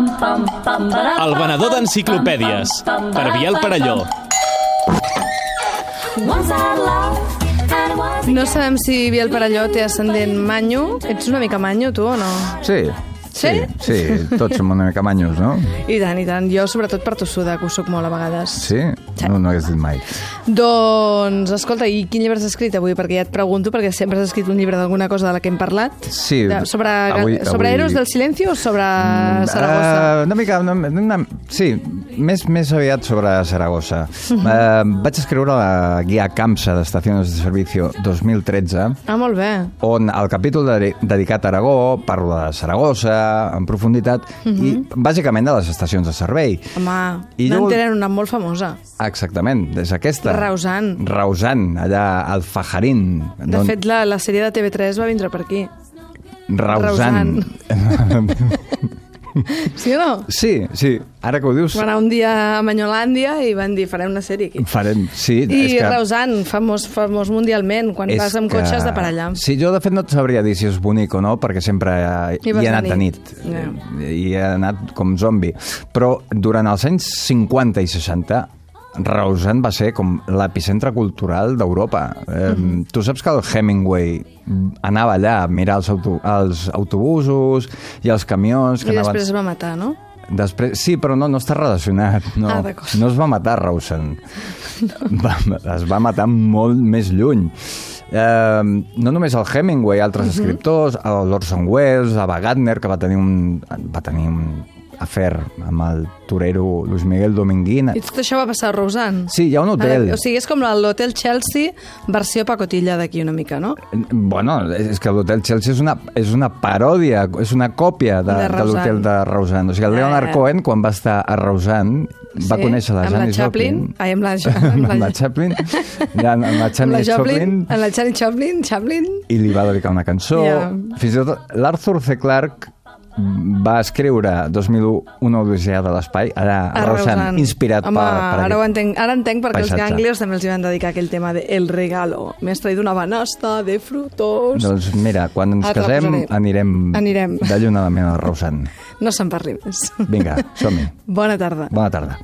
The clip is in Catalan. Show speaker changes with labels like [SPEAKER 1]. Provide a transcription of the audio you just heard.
[SPEAKER 1] El venedor d'enciclopèdies, per Biel Parelló.
[SPEAKER 2] No sabem si Biel Parelló té ascendent manyo. Ets una mica manyo, tu, o no?
[SPEAKER 3] Sí.
[SPEAKER 2] Sí?
[SPEAKER 3] Sí, sí, tots som una mica manyos, no?
[SPEAKER 2] I tant, i tant. Jo, sobretot, per tossuda, que ho soc molt a vegades.
[SPEAKER 3] Sí? No, no hagués dit mai.
[SPEAKER 2] Doncs, escolta, i quin llibre has escrit avui? Perquè ja et pregunto, perquè sempre has escrit un llibre d'alguna cosa de la que hem parlat.
[SPEAKER 3] Sí,
[SPEAKER 2] De, sobre
[SPEAKER 3] avui-
[SPEAKER 2] sobre
[SPEAKER 3] avui-
[SPEAKER 2] Eros del Silenci o sobre Saragossa?
[SPEAKER 3] Eh, una mica... Una, una, sí, més, més aviat sobre Saragossa.
[SPEAKER 2] Mhm.
[SPEAKER 3] Eh, vaig escriure la guia CAMSA d'Estacions de Servicio 2013
[SPEAKER 2] Ah, molt bé.
[SPEAKER 3] on el capítol de, dedicat a Aragó parla de Saragossa en profunditat
[SPEAKER 2] Mhm.
[SPEAKER 3] i bàsicament de les estacions de servei.
[SPEAKER 2] Home,
[SPEAKER 3] I
[SPEAKER 2] n'en
[SPEAKER 3] jo-
[SPEAKER 2] tenen una molt famosa.
[SPEAKER 3] Exactament, és aquesta.
[SPEAKER 2] Rausan.
[SPEAKER 3] Rausan, allà al Fajarín.
[SPEAKER 2] De fet, la, la sèrie de TV3 va vindre per aquí.
[SPEAKER 3] Rausan.
[SPEAKER 2] Sí o no?
[SPEAKER 3] sí, sí, ara que ho dius...
[SPEAKER 2] Van anar un dia a Manyolàndia i van dir, farem una sèrie aquí.
[SPEAKER 3] Farem, sí, és
[SPEAKER 2] I
[SPEAKER 3] que...
[SPEAKER 2] Rausan, famós, famós mundialment, quan
[SPEAKER 3] és
[SPEAKER 2] vas amb cotxes
[SPEAKER 3] que-
[SPEAKER 2] de parella.
[SPEAKER 3] Sí, jo de fet no et sabria dir si és bonic o no, perquè sempre eh,
[SPEAKER 2] Hi
[SPEAKER 3] hi,
[SPEAKER 2] vas
[SPEAKER 3] he
[SPEAKER 2] de
[SPEAKER 3] anat de
[SPEAKER 2] nit.
[SPEAKER 3] nit. Eh, I he anat com zombi. Però durant els anys 50 i 60 Rausan va ser com l'epicentre cultural d'Europa. Eh,
[SPEAKER 2] Mhm.
[SPEAKER 3] Tu saps que el Hemingway anava allà a mirar els, auto els autobusos i els camions que
[SPEAKER 2] I
[SPEAKER 3] anaven...
[SPEAKER 2] després es va matar, no?
[SPEAKER 3] Després, sí, però no, no està relacionat. No,
[SPEAKER 2] Ah, d'acord.
[SPEAKER 3] no es va matar Rausen. Va, es va matar molt més lluny. Eh, no només el Hemingway, altres
[SPEAKER 2] Mhm.
[SPEAKER 3] escriptors, el Orson Welles, Ava Gardner, que va tenir un, va tenir un afer amb el torero Luis Miguel Dominguín.
[SPEAKER 2] I tot això va passar a Rausan.
[SPEAKER 3] Sí, hi ha un hotel.
[SPEAKER 2] Ara, o sigui, és com l'hotel Chelsea versió pacotilla d'aquí una mica, no?
[SPEAKER 3] Bueno, és que l'Hotel Chelsea és una, és una paròdia, és una còpia de,
[SPEAKER 2] De
[SPEAKER 3] de
[SPEAKER 2] Rausan.
[SPEAKER 3] l'Hotel de Rausan. O sigui, el
[SPEAKER 2] Ah.
[SPEAKER 3] Leonard Cohen, quan va estar a Rausan, va
[SPEAKER 2] Sí,
[SPEAKER 3] conèixer la
[SPEAKER 2] amb
[SPEAKER 3] Janis
[SPEAKER 2] la Chaplin.
[SPEAKER 3] Joplin.
[SPEAKER 2] Ai, amb la,
[SPEAKER 3] amb la, Chaplin, ja, amb la
[SPEAKER 2] amb la
[SPEAKER 3] Janis Joplin,
[SPEAKER 2] Joplin, amb la Janis Joplin, Chaplin.
[SPEAKER 3] i li va dedicar una cançó.
[SPEAKER 2] Ja.
[SPEAKER 3] Fins i tot l'Arthur C. Clarke va escriure 2001 una odissea de l'espai, allà a Rosan, inspirat
[SPEAKER 2] Home,
[SPEAKER 3] per, per
[SPEAKER 2] ara, ho
[SPEAKER 3] aquest-
[SPEAKER 2] entenc, ara entenc perquè els
[SPEAKER 3] paisatge.
[SPEAKER 2] ganglios també els hi van dedicar aquell tema de El regalo. M'has traït una banasta de frutos.
[SPEAKER 3] Doncs mira, quan ens
[SPEAKER 2] Ara te la
[SPEAKER 3] casem
[SPEAKER 2] posaré.
[SPEAKER 3] anirem,
[SPEAKER 2] Anirem.
[SPEAKER 3] de lluna de mena a Rosan.
[SPEAKER 2] No se'n parli més.
[SPEAKER 3] Vinga, som-hi.
[SPEAKER 2] Bona tarda.
[SPEAKER 3] Bona tarda.